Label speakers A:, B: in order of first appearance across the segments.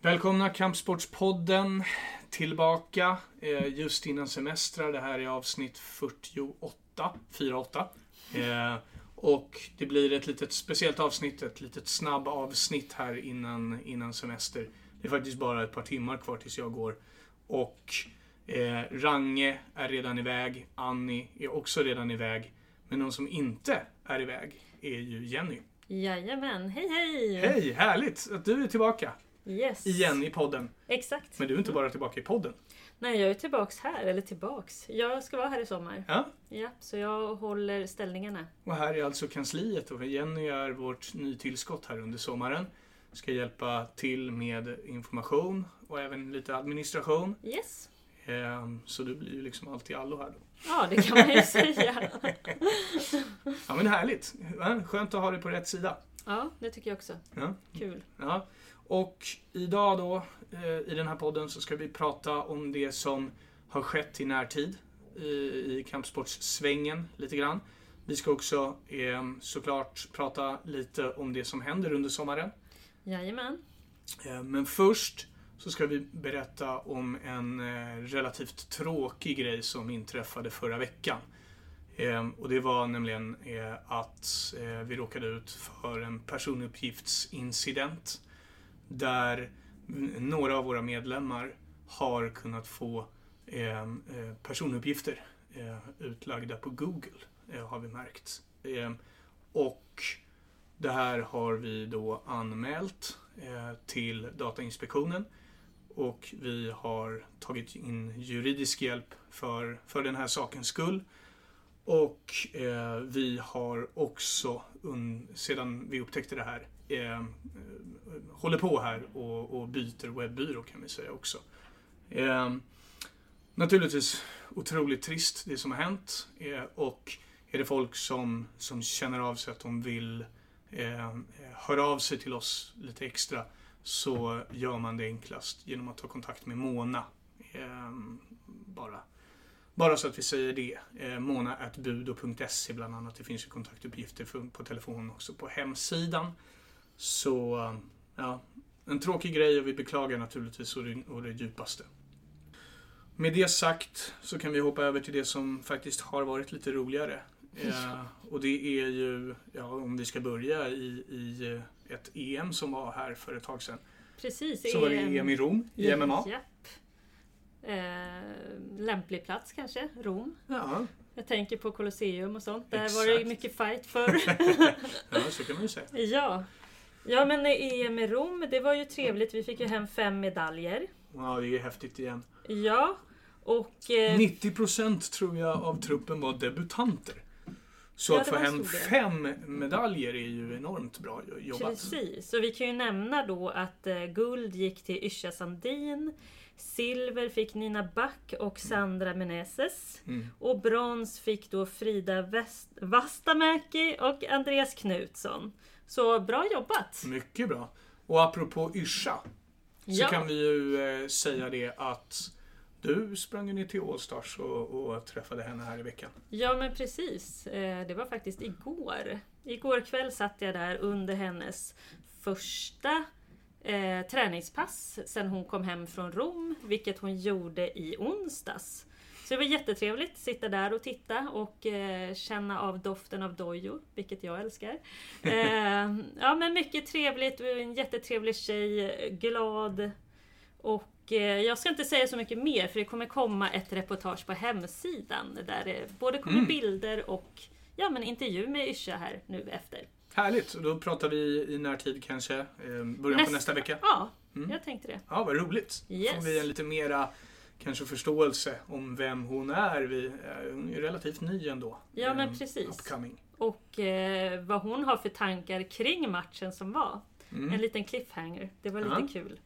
A: Välkomna Kampsportspodden tillbaka eh, just innan semestrar. Det här är avsnitt 48, 48. Eh, och det blir ett litet speciellt avsnitt, ett litet snabb avsnitt här innan, innan semester. Det är faktiskt bara ett par timmar kvar tills jag går. Och eh, Range är redan iväg, Annie är också redan iväg. Men någon som inte är iväg är ju Jenny.
B: Jajamän, hej hej!
A: Hej, härligt att du är tillbaka
B: Yes.
A: igen i podden.
B: Exakt.
A: Men du är inte bara tillbaka i podden.
B: Nej, jag är tillbaks här, eller tillbaks. Jag ska vara här i sommar.
A: Ja.
B: Ja, så jag håller ställningarna.
A: Och här är alltså kansliet och Jenny är vårt nytillskott här under sommaren. Ska hjälpa till med information och även lite administration.
B: Yes.
A: Ehm, Så du blir ju liksom allt i allo här då.
B: Ja, det kan man ju säga.
A: Ja men härligt! Ja, Skönt att ha dig på rätt sida.
B: Ja, det tycker jag också.
A: Ja.
B: Kul.
A: Ja. Och idag då, eh, i den här podden, så ska vi prata om det som har skett i närtid i, i kampsportssvängen lite grann. Vi ska också eh, såklart prata lite om det som händer under sommaren.
B: Jajamän.
A: Eh, Men först så ska vi berätta om en eh, relativt tråkig grej som inträffade förra veckan. Eh, Och det var nämligen eh, att eh, vi råkade ut för en personuppgiftsincident där n- några av våra medlemmar har kunnat få eh, eh, personuppgifter eh, utlagda på Google, eh, har vi märkt. Eh, Och det här har vi då anmält eh, till Datainspektionen och vi har tagit in juridisk hjälp för, för den här sakens skull. Och eh, vi har också, un, sedan vi upptäckte det här, eh, eh, håller på här och, och byter webbyrå kan vi säga också. Eh, naturligtvis otroligt trist det som har hänt eh, och är det folk som, som känner av sig att de vill eh, hör av sig till oss lite extra så gör man det enklast genom att ta kontakt med Mona. Eh, bara. bara så att vi säger det. Eh, Mona.budo.se bland annat. Det finns ju kontaktuppgifter för, på telefon också på hemsidan. Så eh, ja, en tråkig grej och vi beklagar naturligtvis och det, och det djupaste. Med det sagt så kan vi hoppa över till det som faktiskt har varit lite roligare. Eh, och det är ju, ja, om vi ska börja i, i eh, ett EM som var här för ett tag sedan.
B: Precis. ehm,
A: Så var det EM i Rom, E i MMA.
B: Japp. Eh, lämplig plats kanske, Rom.
A: Ja,
B: Jag tänker på Colosseum och sånt. Där var det
A: Exakt.
B: ju mycket fight förr.
A: ja, så kan man ju säga.
B: ja. Ja men EM i Rom, det var ju trevligt. Vi fick ju hem fem medaljer.
A: Ja, det är häftigt igen.
B: Ja, och... Eh,
A: 90% tror jag av truppen var debutanter. Så
B: Ja,
A: att
B: det
A: få
B: var en
A: hem
B: stor del.
A: fem medaljer är ju enormt bra jobbat.
B: precis. Så vi kan ju nämna då att eh, guld gick till Yrsa Sandin. Silver fick Nina Back och Sandra Meneses.
A: Mm.
B: Och brons fick då Frida West- Vastamäki och Andreas Knutsson. Så bra jobbat!
A: Mycket bra. Och apropå Yrsa, så
B: Ja.
A: kan vi ju eh, säga det att du sprang ju ner till Allstars och, och träffade henne här i veckan.
B: Ja men precis. Eh, Det var faktiskt igår. Igår kväll satt jag där under hennes första eh, träningspass sen hon kom hem från Rom, vilket hon gjorde i onsdags. Så det var jättetrevligt att sitta där och titta och eh, känna av doften av dojor, vilket jag älskar. Eh, ja men mycket trevligt, en jättetrevlig tjej, glad, och eh, jag ska inte säga så mycket mer för det kommer komma ett reportage på hemsidan där det både kommer bilder och ja, men intervju med Yrsa här nu efter.
A: Härligt, och då pratar vi i närtid kanske, eh, början på
B: Nästa-
A: nästa vecka.
B: Ja, jag tänkte det.
A: Ja, vad roligt. Då får
B: Yes.
A: vi en lite mera kanske förståelse om vem hon är. Vi, eh, hon är ju relativt ny ändå.
B: Ja, men
A: Eh,
B: precis.
A: Upcoming.
B: Och eh, vad hon har för tankar kring matchen som var.
A: Mm.
B: En liten cliffhanger. Det var lite
A: Ja.
B: kul.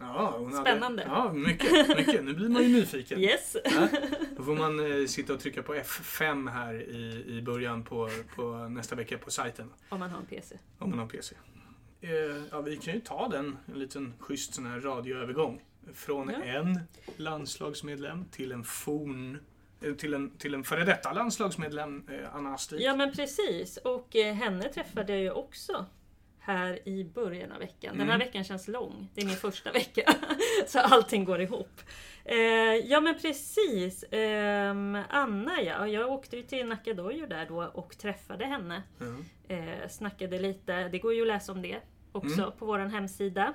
A: Ja, hon
B: Spännande.
A: Hade, ja, mycket, mycket. Nu blir man ju nyfiken.
B: Yes!
A: Ja, Då får man eh, sitta och trycka på F5 här i, i början på, på nästa vecka på sajten.
B: Om man har en PC.
A: Om man har PC. Eh, ja, vi kan ju ta den, en liten schysst sån här radioövergång. Från
B: Ja.
A: en landslagsmedlem till en forn... eh, Till en, till en före detta landslagsmedlem, eh, Anna Astik.
B: Ja men precis. Och eh, henne träffade jag ju också. här i början av veckan. Den här
A: Mm.
B: veckan känns lång. Det är min första vecka. Så allting går ihop. Eh, ja men precis. Ehm, Anna ja, jag åkte ju till Nacka Dojo där då och träffade henne.
A: Mm.
B: Eh, snackade lite. Det går ju att läsa om det också
A: Mm.
B: på vår hemsida.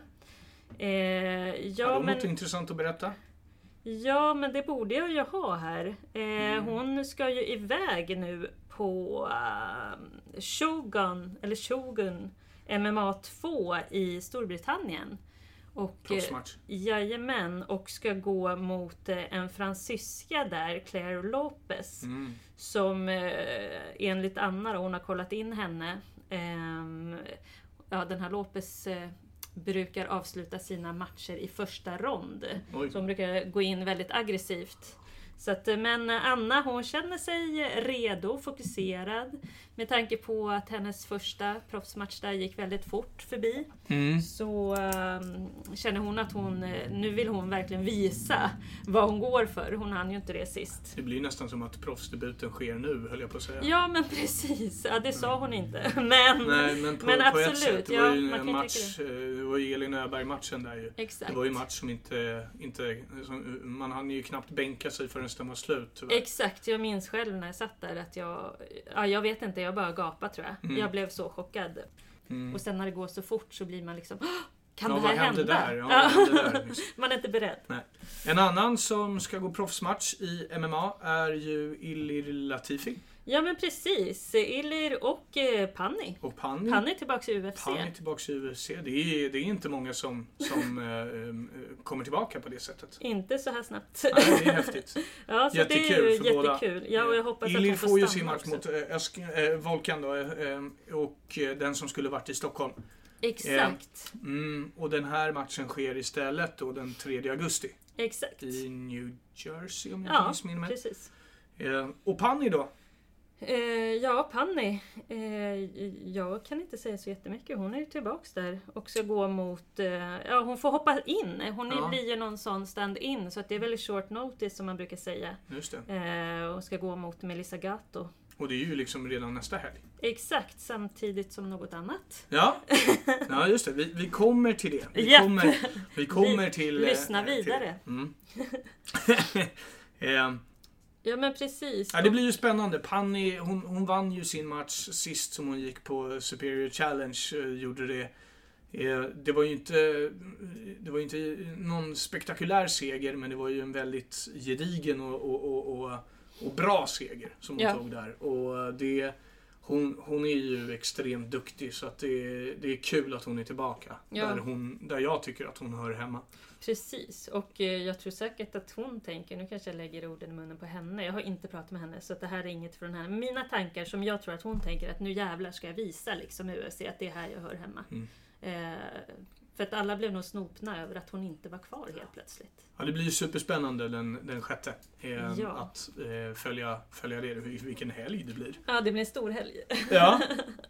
B: Eh, ja,
A: Har du
B: men...
A: något intressant att berätta?
B: Ja, men det borde jag ju ha här. Eh,
A: Mm.
B: Hon ska ju iväg nu på eh, Shogun, eller Shogun MMA 2 i Storbritannien. Och, eh,
A: Proffsmatch.
B: jajamän, och ska gå mot eh, en fransyska där, Claire Lopez.
A: Mm.
B: Som eh, enligt Anna, då, hon har kollat in henne. ehm, ja, den här Lopez eh, brukar avsluta sina matcher i första rond.
A: Oj.
B: Så hon brukar gå in väldigt aggressivt. Så att, eh, men Anna hon känner sig redo, fokuserad. Med tanke på att hennes första proffsmatch där gick väldigt fort förbi.
A: Mm.
B: Så eh, känner hon att hon, eh, nu vill hon verkligen visa vad hon går för. Hon hann ju inte det sist.
A: Det blir nästan som att proffsdebuten sker nu, höll jag på att säga.
B: Ja men precis, ja, det sa hon inte. Men,
A: Typ. Nej, men på,
B: Men
A: på ett
B: absolut,
A: sätt. Det
B: ja,
A: var ju
B: man
A: en
B: kan ju
A: match, eh, det var ju Elin Öberg-matchen där ju.
B: exakt.
A: Det var ju en match som inte... inte som, man hann ju knappt bänka sig förrän den var slut. tyvärr.
B: Exakt, jag minns själv när jag satt där att jag, ja, jag vet inte, jag bara gapade tror jag.
A: Mm.
B: Jag blev så chockad.
A: Mm.
B: Och sen när det går så fort så blir man liksom "Åh, Kan
A: Ja,
B: det
A: vad
B: här
A: hände
B: hända?
A: där? Ja, vad hände där? Just.
B: man är inte beredd.
A: En annan som ska gå proffsmatch i MMA är ju Ilir Latifi
B: Ja men precis, Illir och eh, Panny.
A: och Pani.
B: Panny är tillbaka i UFC.
A: Pani är tillbaka i UFC. Det är, det är inte många som, som eh, eh, kommer tillbaka på det sättet.
B: Inte så här snabbt.
A: Nej, det är häftigt.
B: Ja, så det är
A: Jättekul
B: ju
A: för båda.
B: jättekul. Ja, och jag hoppas att
A: Ilir
B: hon får,
A: får ju
B: stanna
A: sin match
B: också.
A: mot eh, Esk- eh, Volkan då, eh, eh, och eh, den som skulle varit i Stockholm.
B: Exakt.
A: Mm, och den här matchen sker istället då den 3 augusti
B: Exakt.
A: i New Jersey om jag inte
B: Ja,
A: missminner mig.
B: precis.
A: Eh, och Pani då?
B: Eh, ja, Panny. Eh, jag kan inte säga så jättemycket. Hon är ju tillbaks där och ska gå mot... Eh, ja, hon får hoppa in. Hon är-
A: Ja.
B: blir ju någon sån stand-in så att det är väldigt short notice som man brukar säga.
A: Just det.
B: Eh, och ska gå mot Melissa Gatto.
A: Och det är ju liksom redan nästa helg.
B: Exakt samtidigt som något annat.
A: Ja, ja just det. Vi, vi kommer till det. Vi
B: Japp.
A: kommer, vi kommer till... eh,
B: lyssna
A: till det.
B: vidare.
A: Mm. eh,
B: Ja men precis.
A: ja, det blir ju spännande. Panny, hon, hon vann ju sin match sist som hon gick på Superior Challenge. Eh, gjorde det. Eh, det var ju inte, det var ju inte någon spektakulär seger, men det var ju en väldigt gedigen och, och, och, och, och bra seger som hon
B: Ja.
A: tog där. Och det... Hon, hon är ju extremt duktig så att det, är- det är kul att hon är tillbaka.
B: Ja.
A: Där, hon, där jag tycker att hon hör hemma.
B: Precis, och eh, jag tror säkert att hon tänker, nu kanske jag lägger orden i munnen på henne, jag har inte pratat med henne så att det här är inget från henne. Mina tankar som jag tror att hon tänker att nu jävlar ska jag visa liksom UFC att det är här jag hör hemma.
A: Mm.
B: Eh, för att alla blev nog snopna över att hon inte var kvar helt plötsligt.
A: Ja, det blir ju superspännande den, den sjätte. Eh,
B: Ja.
A: Att eh, följa, följa det. Vilken helg det blir.
B: Ja, det blir en stor helg.
A: Ja.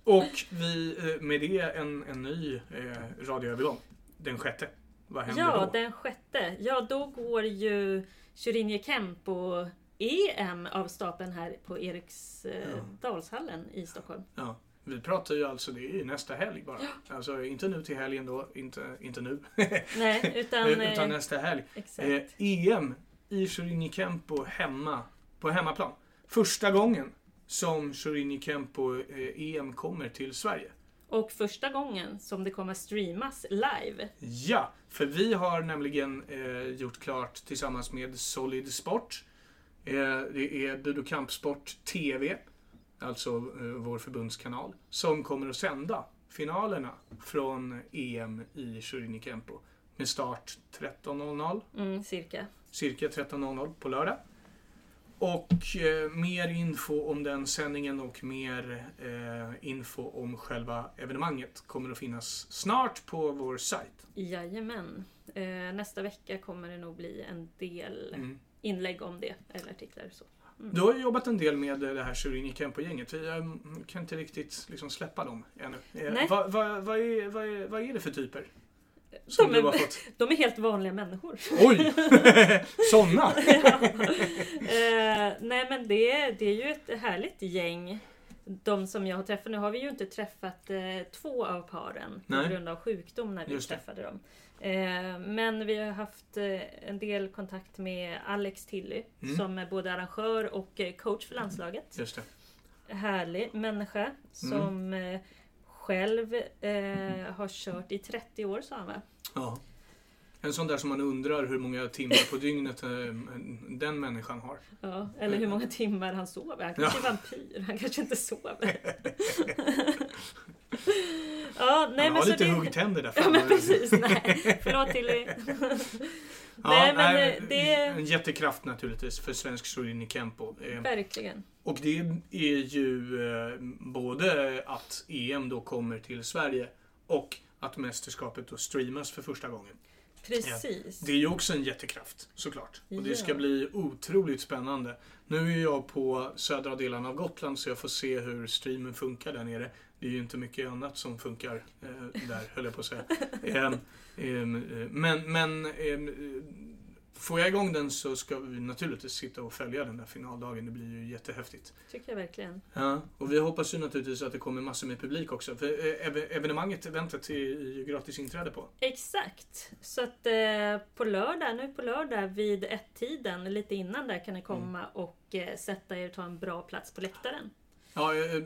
A: Och vi, eh, med det en, en ny eh, radioövergång. Den sjätte. Vad händer
B: Ja,
A: då?
B: den sjätte. Ja, då går ju Shirinje Kempo EM E av stapeln här på
A: Ja.
B: Eriksdalshallen i Stockholm.
A: Ja. Vi pratar ju alltså, det är ju nästa helg bara. Alltså inte nu till helgen då, inte, inte nu.
B: Nej, utan...
A: Eh, Utan
B: eh,
A: nästa helg.
B: exakt.
A: Eh, EM i Shorini Kempo hemma, på hemmaplan. Första gången som Shorini Kempo eh, EM kommer till Sverige.
B: Och första gången som det kommer streamas live.
A: Ja, för vi har nämligen eh, gjort klart tillsammans med Solid Sport. Eh, det är Budo Kampsport TV, alltså eh, vår förbundskanal, som kommer att sända finalerna från EM i Shorini Kempo med start 13.00.
B: Mm, cirka.
A: cirka 13.00 på lördag. Och eh, mer info om den sändningen och mer eh, info om själva evenemanget kommer att finnas snart på vår sajt.
B: Jajamän. Eh, nästa vecka kommer det nog bli en del
A: Mm.
B: inlägg om det, eller artiklar och så.
A: Du har ju jobbat en del med eh, det här Surini Kempo-gänget. Jag mm, kan inte riktigt liksom släppa dem ännu. Eh,
B: Nej. Eh,
A: vad, vad, vad, är, vad, är, vad är det för typer? Som
B: De
A: du har
B: är,
A: fått?
B: de är helt vanliga människor.
A: Oj! Såna!
B: Eh, nej men det, det är ju ett härligt gäng. de som jag har träffat, nu har vi ju inte träffat eh, två av paren
A: Nej.
B: på grund av sjukdom när vi
A: Just det.
B: träffade dem. Eh, men vi har haft eh, en del kontakt med Alex Tilly
A: Mm.
B: som är både arrangör och eh, coach för landslaget.
A: Just det.
B: Härlig
A: Mm.
B: människa som eh, själv eh, har kört i 30 år sa han va?
A: Ja. En sån där som man undrar hur många timmar på dygnet eh, den människan har.
B: Ja, eller hur
A: Eh.
B: många timmar han sover. Han kanske är vampyr, han kanske inte sover. ja, nej,
A: Han
B: men
A: har
B: så
A: lite
B: det...
A: huggtänder där
B: Ja
A: framme.
B: men precis, nej. Förlåt Tilly.
A: Ja,
B: nej men
A: nej,
B: eh, det...
A: En jättekraft naturligtvis för svensk Sorini Kempo. Eh,
B: Verkligen.
A: Och det är ju eh, både att EM då kommer till Sverige och att mästerskapet då streamas för första gången.
B: Precis.
A: Det är ju också en jättekraft såklart. Och det ska
B: Ja.
A: bli otroligt spännande. Nu är jag på södra delen av Gotland så jag får se hur streamen funkar där nere. Det är ju inte mycket annat som funkar eh, där, höll jag på att säga. Ehm, ehm, eh, men men ehm, eh, får jag igång den så ska vi naturligtvis sitta och följa den där finaldagen. Det blir ju jättehäftigt.
B: Tycker jag verkligen.
A: Ja, och vi hoppas ju naturligtvis att det kommer massor med publik också. För eh, ev- evenemanget, eventet, är ju gratis inträde på.
B: Exakt. Så att eh, på lördag, nu på lördag vid ett-tiden, lite innan där
A: Mm.
B: kan ni komma och eh, sätta er och ta en bra plats på läktaren.
A: Ja, eh, eh,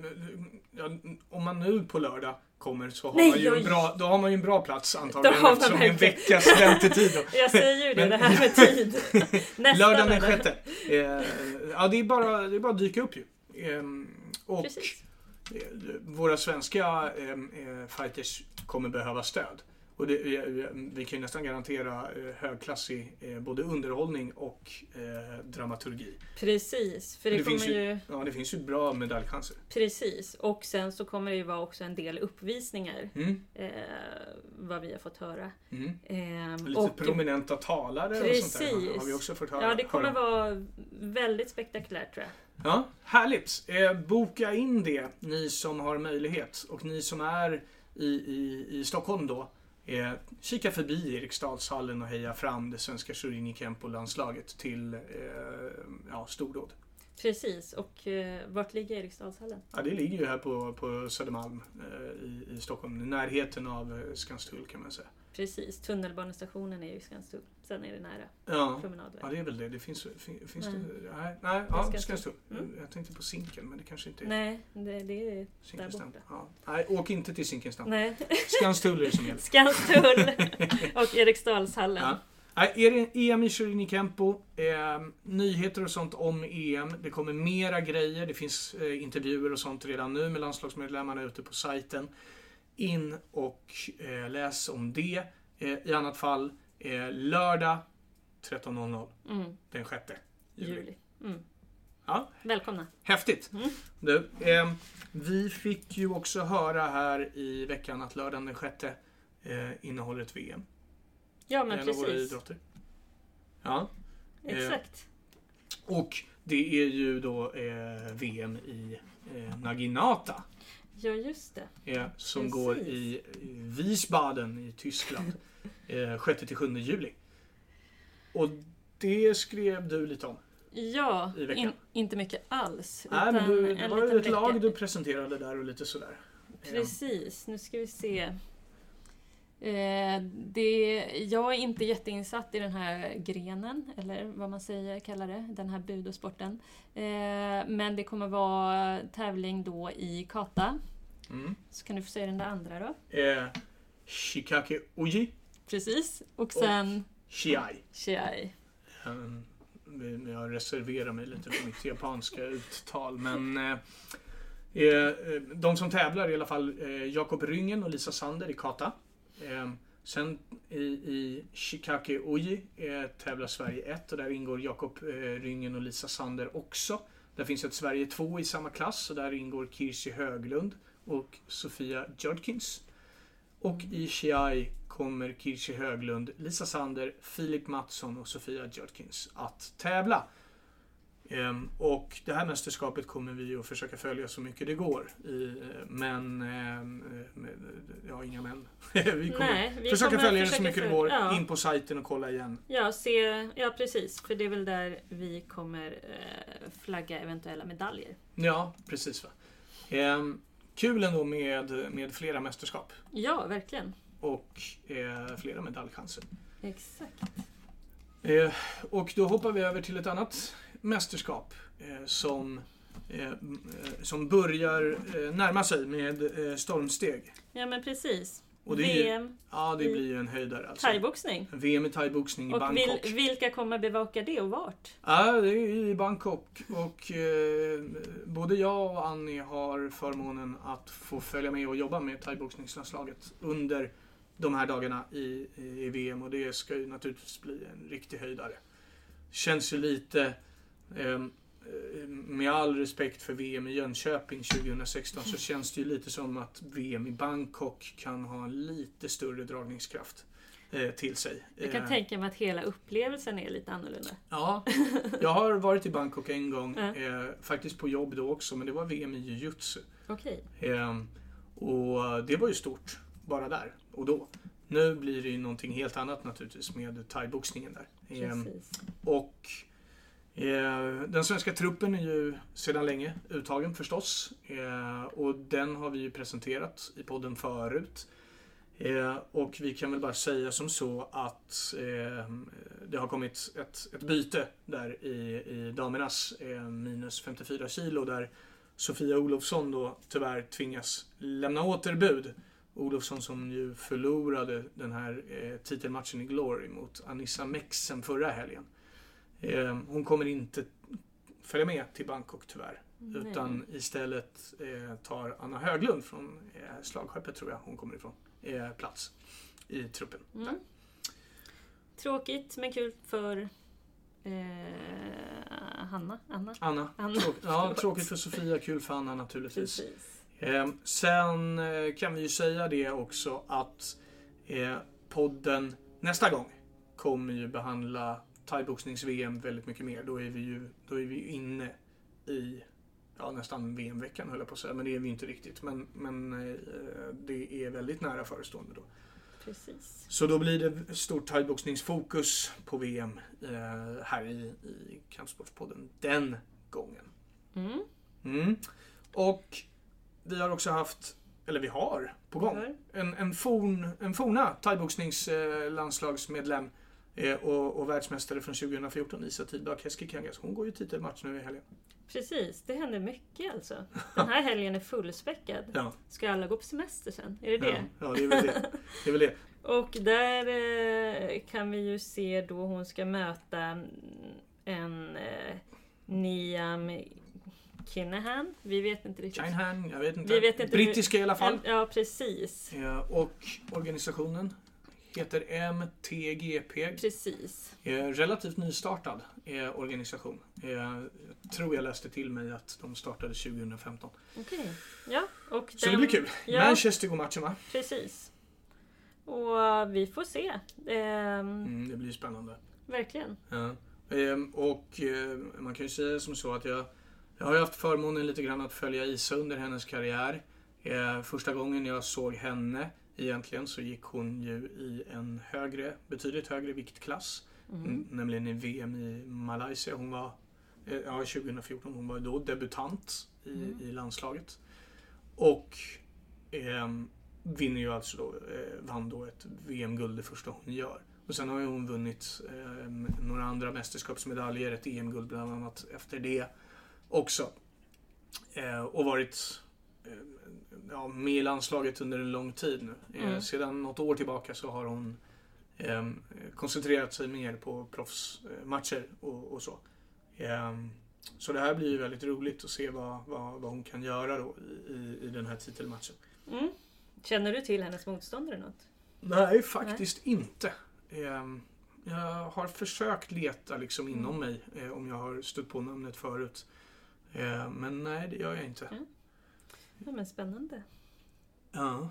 A: ja, om man nu på lördag kommer så har,
B: Nej,
A: man, ju en
B: oj.
A: bra, då har man ju en bra plats antagligen
B: Då har man
A: eftersom det är en
B: verkligen.
A: veckas väntetid. Då.
B: Jag säger ju det,
A: Men-
B: det här med tid. Nästa
A: Lördagen den
B: lördag.
A: sjätte. Eh, ja, det är, bara, det är bara att dyka upp ju. Eh, och
B: Precis.
A: eh, våra svenska eh, eh, fighters kommer behöva stöd. Och det, vi, vi kan ju nästan garantera eh, högklassig eh, både underhållning och eh, dramaturgi.
B: Precis. För
A: Men
B: det,
A: det finns
B: kommer ju...
A: Ja, det finns ju bra medaljchanser.
B: Precis. Och sen så kommer det ju vara också en del uppvisningar.
A: Mm.
B: Eh, vad vi har fått höra.
A: Mm.
B: Ehm,
A: Lite prominenta talare och sånt där har- har vi
B: Precis.
A: också fått höra.
B: Ja, det kommer
A: höra.
B: vara väldigt spektakulärt tror jag.
A: Ja, härligt! Eh, boka in det, ni som har möjlighet. Och ni som är i, i, i Stockholm då, eh, kika förbi Eriksdalshallen och heja fram det svenska Shurini Kempo-landslaget till eh, ja, stordåd.
B: Precis. Och eh, vart ligger Eriksdalshallen?
A: Ja, det ligger ju här på, på Södermalm eh, i, i Stockholm, i närheten av eh, Skanstull kan man säga.
B: Precis. Tunnelbanestationen är ju Skanstull. Sen är det nära
A: Ja.
B: promenadväg.
A: Ja, det är väl det. Det finns, fin- finns
B: Nej.
A: det... Nej, nej ja,
B: ska
A: ska
B: jag
A: stå.
B: Mm.
A: Jag tänkte på Zinken, men det kanske inte är
B: Nej, det, det är...
A: Zinkensdamm.
B: borta.
A: Ja. Nej, åk inte till Zinkensdamm.
B: Nej.
A: Skanstull är det som gäller.
B: Skanstull och Eriksdalshallen.
A: Ja. Nej, är det EM i Shirini Kempo, eh, nyheter och sånt om EM. Det kommer mera grejer. Det finns eh, intervjuer och sånt redan nu med landslagsmedlemmarna ute på sajten. In och eh, läs om det. Eh, I annat fall, eh, lördag 13.00
B: Mm,
A: den 6 juli.
B: juli. Mm.
A: Ja.
B: Välkomna.
A: Häftigt!
B: Mm.
A: Du, ehm, vi fick ju också höra här i veckan att lördagen den sjätte eh, innehåller ett VM.
B: Ja, men
A: en av våra
B: precis.
A: idrotter. Ja, eh,
B: Exakt.
A: och det är ju då eh, VM i eh, Naginata
B: Ja, just det.
A: eh, som
B: Precis.
A: går i i Wiesbaden i Tyskland eh, 6 till 7 juli. Och det skrev du lite om.
B: Ja,
A: I veckan.
B: in, inte mycket alls.
A: Nej, men
B: utan
A: du, det
B: en
A: var ju
B: liten
A: ett lag
B: vecka.
A: du presenterade där och lite sådär. Eh,
B: Precis, nu ska vi se. Eh, det, jag är inte jätteinsatt i den här grenen, eller vad man säger, kallar det, den här budosporten. Eh, men det kommer vara tävling då i kata.
A: Mm.
B: Så kan du få säga den där andra då.
A: Eh, Shikake Oji
B: Precis, och sen
A: Shiai.
B: Chiai.
A: Um, men Jag reserverar mig lite för mitt japanska uttal, men eh, eh, de som tävlar i alla fall eh, Jakob Ryngen och Lisa Sander i kata. Eh, sen i, i Shikake Oji eh, tävlar Sverige 1 och där ingår Jakob eh, Ryngen och Lisa Sander också. Där finns ett Sverige 2 i samma klass och där ingår Kirsi Höglund och Sofia Judkins. Och i Shiai kommer Kirsi Höglund, Lisa Sander, Filip Mattsson och Sofia Judkins att tävla. Ehm, och det här mästerskapet kommer vi att försöka följa så mycket det går. I, eh, men, ehm, eh, ja inga men. vi kommer
B: Nej, vi
A: försöka
B: kommer
A: följa det så
B: försöka
A: mycket det
B: följa-
A: går.
B: ja.
A: In på sajten och kolla igen.
B: Ja, se, ja, precis. För det är väl där vi kommer eh, flagga eventuella medaljer.
A: Ja, precis va. Eh, kul ändå med, med flera mästerskap
B: Ja, verkligen.
A: och eh, flera medaljchanser.
B: Exakt.
A: Eh, och då hoppar vi över till ett annat mästerskap eh, som, eh, m- eh, som börjar eh, närma sig med eh, stormsteg.
B: Ja, men precis.
A: Och det är ju-
B: VM,
A: Ja, det blir ju en höjdare alltså.
B: thaiboxning.
A: VM i thaiboxning i
B: Och
A: Bangkok.
B: vil, vilka kommer bevaka det och vart?
A: Ja, det är i Bangkok och eh, både jag och Annie har förmånen att få följa med och jobba med thaiboxningslandslaget under de här dagarna i, i VM och det ska ju naturligtvis bli en riktig höjdare. Känns ju lite, eh, med all respekt för VM i Jönköping 2016, så känns det ju lite som att VM i Bangkok kan ha en lite större dragningskraft eh, till sig.
B: Jag kan
A: Eh,
B: tänka mig att hela upplevelsen är lite annorlunda.
A: Ja, jag har varit i Bangkok en gång,
B: Ja.
A: eh, faktiskt på jobb då också, men det var VM i jujutsu.
B: Okej.
A: Eh, och det var ju stort, bara där och då. Nu blir det ju någonting helt annat naturligtvis med thaiboxningen där. Eh,
B: Precis.
A: och eh, den svenska truppen är ju sedan länge uttagen förstås. Eh, och den har vi ju presenterat i podden förut. Eh, och vi kan väl bara säga som så att eh, det har kommit ett, ett byte där i, i damernas eh, minus 54 kilo där Sofia Olofsson då tyvärr tvingas lämna återbud. Olofsson som ju förlorade den här eh, titelmatchen i Glory mot Anissa Mexen förra helgen. Eh, hon kommer inte följa med till Bangkok tyvärr. Utan istället eh, tar Anna Höglund från eh, slagskeppet tror jag hon kommer ifrån, eh, plats i truppen.
B: Nej. Mm. Tråkigt men kul för eh, Hanna. Anna.
A: Anna.
B: Anna.
A: Tråk- ja, tråkigt för Sofia, kul för Anna naturligtvis.
B: Precis.
A: Eh, sen eh, kan vi ju säga det också att eh, podden nästa gång kommer ju behandla thaiboxnings-VM väldigt mycket mer. Då är vi ju då är vi ju inne i ja, nästan VM-veckan höll jag på att säga, men det är vi inte riktigt. Men, men eh, det är väldigt nära förestående då.
B: Precis.
A: Så då blir det stort thaiboxningsfokus på VM eh, här i, i Kampsportspodden den gången.
B: Mm.
A: Mm. Och vi har också haft, eller vi har på gång,
B: Hör.
A: en, en, forn, en forna thaiboxningslandslagsmedlem eh, och, och världsmästare från 2014, Isa Tidback Heskikangas. Hon går ju titelmatch nu i helgen.
B: Precis, det händer mycket alltså. Den här helgen är fullspäckad.
A: Ja,
B: Ska alla gå på semester sen? Är det
A: ja,
B: det?
A: ja det är väl det. det, är väl det.
B: Och där eh, kan vi ju se då hon ska möta mm, en eh, Niam Kinnahan. Vi vet inte riktigt.
A: Shinehan, jag vet inte.
B: Vi vet inte hur-
A: Brittiska i alla fall.
B: En- Ja, precis.
A: Eh, och organisationen heter MTGP,
B: Precis.
A: Eh, Relativt nystartad eh, organisation. Eh, Jag tror jag läste till mig att de startade 2015.
B: Okej. Ja, och
A: Så det blir kul.
B: Ja.
A: Manchester går matchen va?
B: Precis. Och vi får se. Ehm,
A: Mm, det blir spännande.
B: Verkligen.
A: Ja. Ehm, Och eh, man kan ju säga som så att jag, jag har ju haft förmånen lite grann att följa Isa under hennes karriär. Eh, Första gången jag såg henne egentligen så gick hon ju i en högre, betydligt högre viktklass.
B: Mm.
A: Mm. Nämligen i VM i Malaysia. Hon var, eh, ja 2014, hon var då debutant i,
B: Mm.
A: i landslaget. Och ehm, vinner ju alltså då, eh, vann då ett VM-guld det första hon gör. Och sen har ju hon vunnit ehm, några andra mästerskapsmedaljer, ett EM-guld bland annat efter det också. Eh, och varit eh, ja, med i landslaget under en lång tid nu. Eh,
B: Mm.
A: Sedan något år tillbaka så har hon ehm, koncentrerat sig mer på proffsmatcher och, och så. Ehm, så det här blir ju väldigt roligt att se vad, vad, vad hon kan göra då i, i- i den här titelmatchen.
B: Mm. Känner du till hennes motståndare något?
A: Nej, faktiskt inte. Ehm, jag har försökt leta liksom inom
B: Mm.
A: mig eh, om jag har stött på namnet förut. Ehm, men nej, det gör jag inte.
B: Mm. Ja, men spännande.
A: Ja.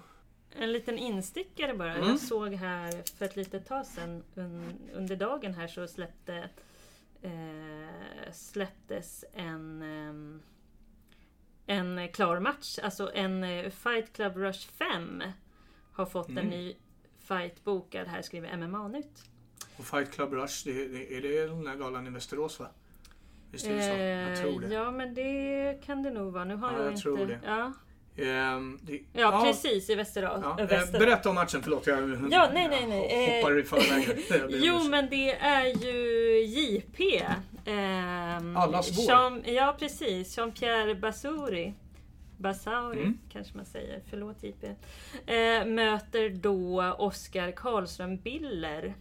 B: En liten instickare bara.
A: Mm.
B: Jag såg här för ett litet tag sedan un, under dagen här så släppte, eh, släpptes en, ehm, en klar match. Alltså en eh, Fight Club Rush 5 har fått
A: Mm.
B: en ny fight bokad. Här skriver MMA-nytt.
A: Och Fight Club Rush, det, det, är det den där galan i Västerås va? Visst är det så? Jag tror det.
B: Eh, Ja men det kan det nog vara. Nu har
A: Ja,
B: jag,
A: jag
B: inte...
A: tror det.
B: Ja.
A: Ehm, det-
B: Ja, precis i Västerås.
A: ja. Eh,
B: Väster...
A: Berätta om matchen, förlåt. Jag,
B: Ja, nej, nej, nej. Eh,
A: jag hoppar i förväg. Jag ber om
B: Jo
A: ursäkt.
B: men det är ju JP. Ehm,
A: Allas vår.
B: Jean, ja precis, Jean-Pierre Basouri. Basauri
A: Mm.
B: kanske man säger, förlåt JP. Eh, möter då Oskar Karlström Biller.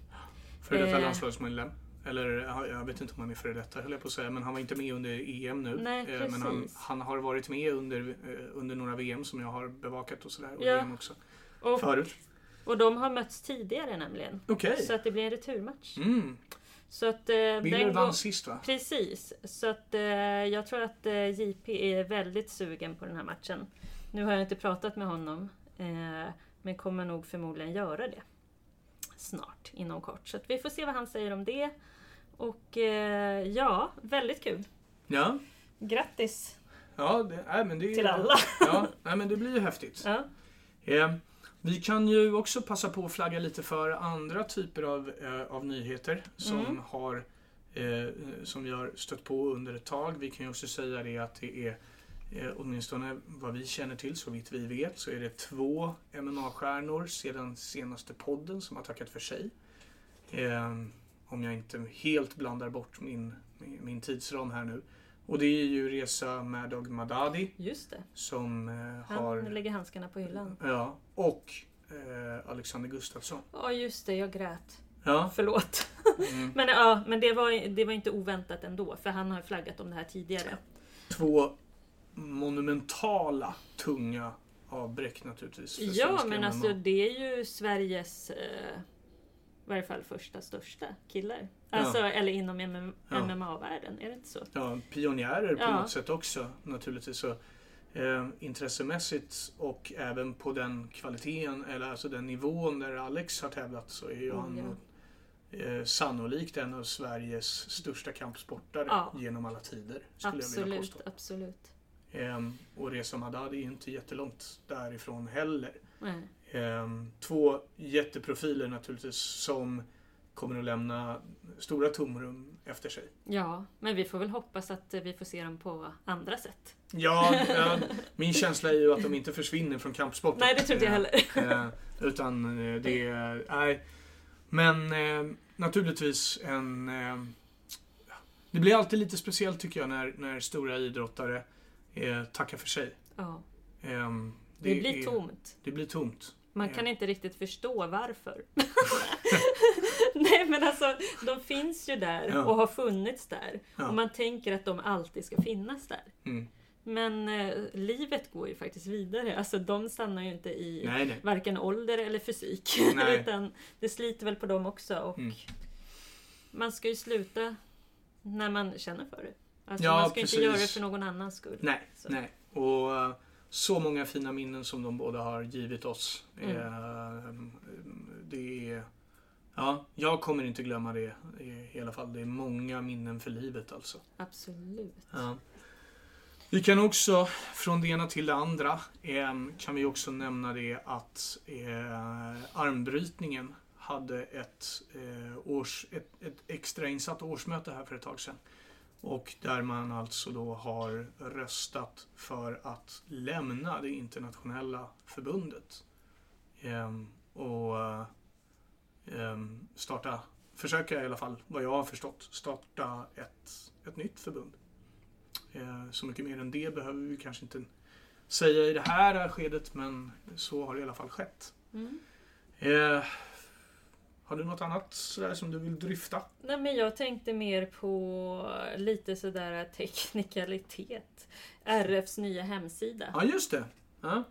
A: Före detta
B: Eh.
A: landslagsmedlem. Eller ja, jag vet inte om han är före detta höll jag på att säga. Men han var inte med under EM nu.
B: Nej,
A: Eh, men han,
B: precis.
A: han har varit med under, eh, under några VM som jag har bevakat och sådär. Och
B: Ja.
A: EM också.
B: Och,
A: Förut.
B: och de har mötts tidigare nämligen.
A: Okej.
B: Så att det blir en returmatch.
A: Mm.
B: Så att, eh,
A: Miller
B: den
A: vann
B: går-
A: sist va?
B: Precis, så att eh, jag tror att eh, JP är väldigt sugen på den här matchen. Nu har jag inte pratat med honom, eh, men kommer nog förmodligen göra det snart, inom kort. Så att vi får se vad han säger om det. Och eh, ja, väldigt kul.
A: Ja.
B: Grattis
A: Ja, det, nej, men det,
B: till alla!
A: Ja, nej, men det blir ju häftigt.
B: Ja.
A: Eh, vi kan ju också passa på att flagga lite för andra typer av, eh, av nyheter som,
B: Mm.
A: har, eh, som vi har stött på under ett tag. Vi kan ju också säga det att det är eh, åtminstone vad vi känner till, så vitt vi vet, så är det två MMA-stjärnor sedan senaste podden som har tackat för sig. Eh, om jag inte helt blandar bort min, min, min tidsram här nu. Och det är ju Reza Madog Madadi
B: Just det,
A: som eh,
B: han
A: har...
B: lägger handskarna på hyllan.
A: Ja, och eh, Alexander Gustafsson.
B: Ja, just det, jag grät.
A: Ja.
B: Förlåt.
A: Mm.
B: Men, ja, men det, var, det var inte oväntat ändå, för han har flaggat om det här tidigare.
A: Två monumentala, tunga avbräck naturligtvis. för
B: Ja,
A: svenska
B: men
A: MMA.
B: alltså det är ju Sveriges eh, i varje fall första största killar. Alltså, Eller inom MM,
A: Ja.
B: MMA-världen, är det inte så?
A: Ja, pionjärer på
B: Ja.
A: något sätt också naturligtvis. Så, eh, intressemässigt och även på den kvaliteten, eller alltså den nivån där Alex har tävlat så är ju
B: Mm,
A: han
B: ja.
A: nog, eh, sannolikt en av Sveriges största kampsportare
B: Ja.
A: genom alla tider. Skulle jag vilja påstå.
B: Absolut, absolut.
A: Ehm, och Reza Madadi är ju inte jättelångt därifrån heller.
B: Nej.
A: Ehm, två jätteprofiler naturligtvis som kommer att lämna stora tomrum efter sig.
B: Ja, men vi får väl hoppas att eh, vi får se dem på andra sätt.
A: Ja, eh, min känsla är ju att de inte försvinner från kampsporten.
B: Nej, det tror inte jag heller.
A: heller. utan eh, det är... Nej. Men eh, naturligtvis en... Eh, det blir alltid lite speciellt tycker jag när, när stora idrottare eh, tackar för sig.
B: Ja,
A: Ehm,
B: det, blir
A: är-
B: tomt.
A: Det blir tomt.
B: Man
A: Ja.
B: kan inte riktigt förstå varför. Nej men alltså, de finns ju där
A: Ja.
B: och har funnits där.
A: Ja.
B: Och man tänker att de alltid ska finnas där.
A: Mm.
B: Men eh, livet går ju faktiskt vidare. Alltså de stannar ju inte i
A: Nej, nej.
B: varken ålder eller fysik.
A: Nej.
B: Utan det sliter väl på dem också. Och
A: Mm.
B: Man ska ju sluta när man känner för det. Alltså
A: Ja,
B: man ska ju
A: precis.
B: inte göra det för någon annans skull.
A: Nej,
B: Så.
A: nej. Och eh, så många fina minnen som de båda har givit oss.
B: Mm.
A: Eh, Det är... Ja, jag kommer inte glömma det i alla fall. Det är många minnen för livet alltså.
B: Absolut.
A: Ja. Vi kan också, från det ena till det andra, eh, kan vi också nämna det att eh, armbrytningen hade ett, eh, års, ett, ett extra insatt årsmöte här för ett tag sedan. Och där man alltså då har röstat för att lämna det internationella förbundet. Eh, och eh, eh, starta, försöka i alla fall, vad jag har förstått, starta ett, ett nytt förbund. Eh, Så mycket mer än det behöver vi kanske inte säga i det här skedet, men så har det i alla fall skett.
B: Mm.
A: Eh, har du något annat sådär som du vill dryfta?
B: Nej men jag tänkte mer på lite sådär teknikalitet. RFs nya hemsida.
A: Ja, just det. Ja.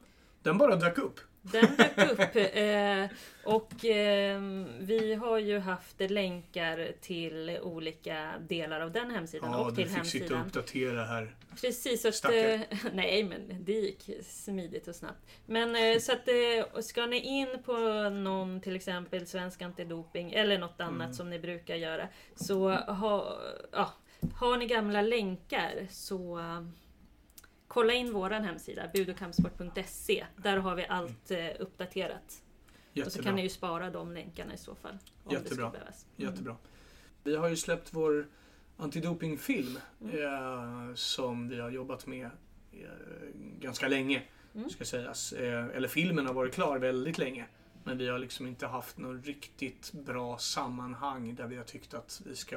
A: Den bara dök upp.
B: Den dök upp. Eh, och eh, vi har ju haft länkar till olika delar av den hemsidan
A: Ja,
B: och
A: du
B: till
A: fick sitta och
B: hemsidan.
A: uppdatera här.
B: Precis, så att,
A: Stackare.
B: eh, nej men det gick smidigt och snabbt. Men eh, så att eh, ska ni in på någon till exempel Svensk Antidoping eller något annat
A: Mm.
B: som ni brukar göra. Så ha, ja, har ni gamla länkar så eh, kolla in våran hemsida budokampsport.se. Där har vi allt eh, uppdaterat. Och så kan
A: Jättebra.
B: ni ju spara de länkarna i så fall. Om
A: Jättebra.
B: Det skulle behövas. Mm.
A: Jättebra. Vi har ju släppt vår antidopingfilm eh, som vi har jobbat med eh, ganska länge.
B: Mm.
A: Ska sägas. Eh, eller filmen har varit klar väldigt länge. Men vi har liksom inte haft något riktigt bra sammanhang där vi har tyckt att vi ska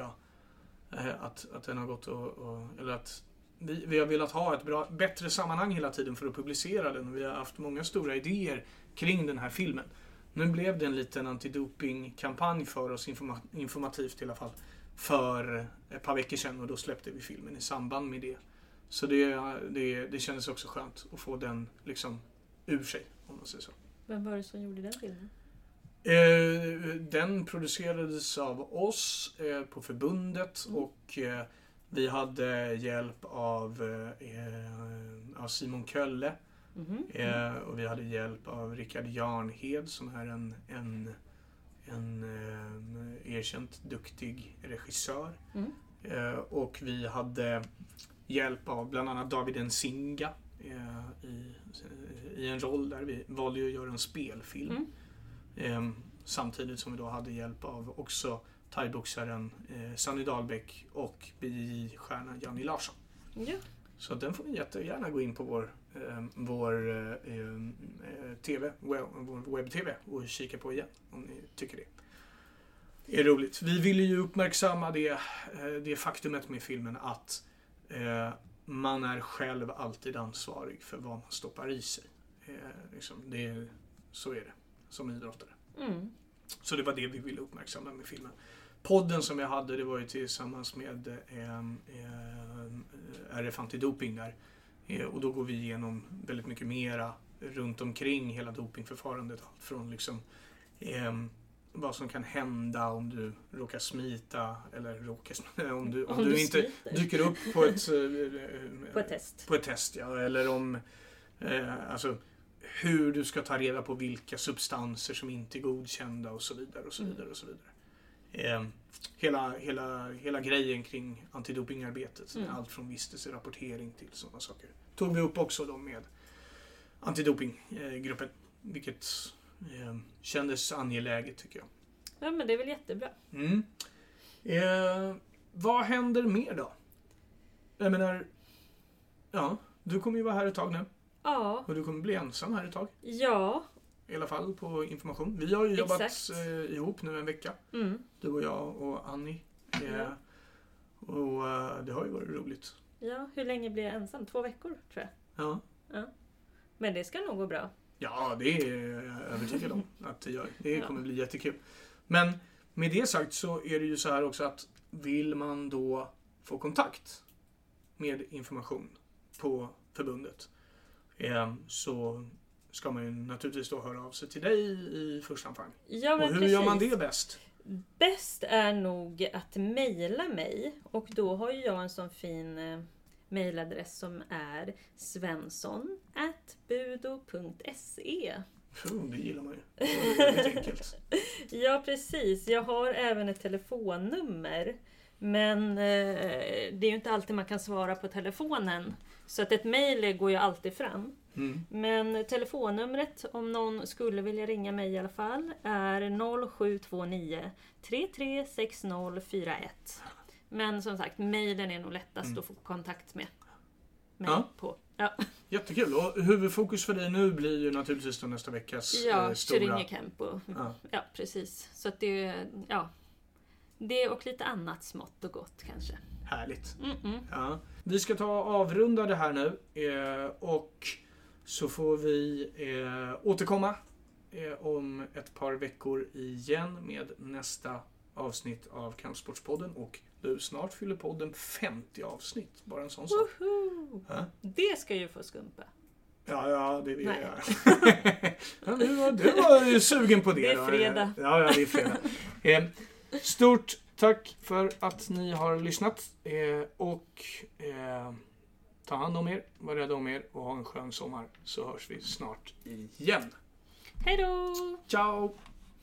A: eh, att, att den har gått och, och eller att vi, vi har velat ha ett bra, bättre sammanhang hela tiden för att publicera den och vi har haft många stora idéer kring den här filmen. Nu blev det en liten antidopingkampanj för oss, informa- informativt i alla fall, för ett par veckor sedan och då släppte vi filmen i samband med det. Så det, det, det kändes också skönt att få den liksom ur sig, om man säger så.
B: Vem var det som gjorde den filmen?
A: Eh, den producerades av oss eh, på förbundet
B: Mm.
A: och eh, vi hade hjälp av, eh, av Simon Kölle
B: Mhm.
A: eh, och vi hade hjälp av Rickard Jarnhed som är en, en, en eh, erkänt duktig regissör.
B: Mm.
A: Eh, och vi hade hjälp av bland annat David Nzinga eh, i, i en roll där vi valde ju att göra en spelfilm.
B: Mm.
A: Ehm, samtidigt som vi då hade hjälp av också thaiboxaren eh, Sunny Dahlbäck och BJJ-stjärnan Janni Larsson.
B: Ja.
A: Så den får ni jättegärna gå in på vår, eh, vår eh, eh, TV, web, vår webb-TV och kika på igen om ni tycker det. är roligt. Vi ville ju uppmärksamma det, eh, det faktumet med filmen att eh, man är själv alltid ansvarig för vad man stoppar i sig. Eh, liksom, det, är- så är det som idrottare.
B: Mm.
A: Så det var det vi ville uppmärksamma med filmen. Podden som jag hade, det var ju tillsammans med eh, eh, RF Antidoping där. Eh, och då går vi igenom väldigt mycket mera runt omkring hela dopingförfarandet. Allt från liksom eh, vad som kan hända om du råkar smita eller råkar smita, om du, om du inte
B: smiter
A: dyker upp på ett, eh,
B: på ett test.
A: på ett test, ja. Eller om eh, alltså, hur du ska ta reda på vilka substanser som inte är godkända och så vidare. och så
B: Mm.
A: vidare, och så vidare. Eh, hela, hela, hela grejen kring antidopingarbetet,
B: Mm.
A: allt från vistelserapportering till sådana saker, tog vi upp också då med antidopinggruppen. Vilket eh, kändes angeläget tycker jag.
B: Ja men det är väl jättebra.
A: Mm. Eh, vad händer mer då? Jag menar, ja, du kommer ju vara här ett tag nu
B: Ja,
A: och du kommer bli ensam här ett tag.
B: ja.
A: I alla fall på information. Vi har ju
B: Exakt.
A: jobbat eh, ihop nu en vecka,
B: Mm.
A: du och jag och Annie. Eh,
B: Ja.
A: Och eh, det har ju varit roligt.
B: ja. Hur länge blir jag ensam? Två veckor tror jag.
A: Ja,
B: Men det ska nog gå bra.
A: ja det är jag övertygad om att det gör. Det
B: Ja.
A: kommer bli jättekul. Men med det sagt så är det ju så här också att vill man då få kontakt med information på förbundet eh, så ska man ju naturligtvis då höra av sig till dig i första hand.
B: Ja,
A: Och
B: men
A: hur
B: precis.
A: gör man det bäst?
B: Bäst är nog att mejla mig och då har ju jag en sån fin eh, mejladress som är svensson.budo.se
A: Puh, det gillar man ju. Det är väldigt enkelt.
B: Ja precis, jag har även ett telefonnummer. Men eh, det är ju inte alltid man kan svara på telefonen. Så att ett mejl går ju alltid fram.
A: Mm.
B: Men telefonnumret om någon skulle vilja ringa mig i alla fall är 0729 336041. Men som sagt, mejlen är nog lättast
A: Mm.
B: att få kontakt med. Mig
A: Ja.
B: på. Ja,
A: Jättekul. Och huvudfokus för dig nu blir ju naturligtvis då nästa veckas eh,
B: ja
A: stora...
B: Kyringe Campo.
A: Ja.
B: Ja, precis. Så att det, ja. Det och lite annat smått och gott kanske.
A: Härligt.
B: Mm -mm.
A: Ja. Vi ska ta och avrunda det här nu eh, och så får vi eh, återkomma eh, om ett par veckor igen med nästa avsnitt av Kampsportspodden och du snart fyller podden 50 avsnitt. Bara en sån sak.
B: Woho!
A: Ja.
B: Det ska ju få skumpa.
A: Ja, ja, det vill jag
B: Nej.
A: göra. ja, du, var, du var ju sugen på det.
B: Det är
A: då.
B: fredag.
A: Ja, ja, det är fredag. Eh, Stort tack för att ni har lyssnat. Eh, Och eh, ta hand om er, var rädda om er och ha en skön sommar. Så hörs vi snart igen.
B: Hej då!
A: Ciao!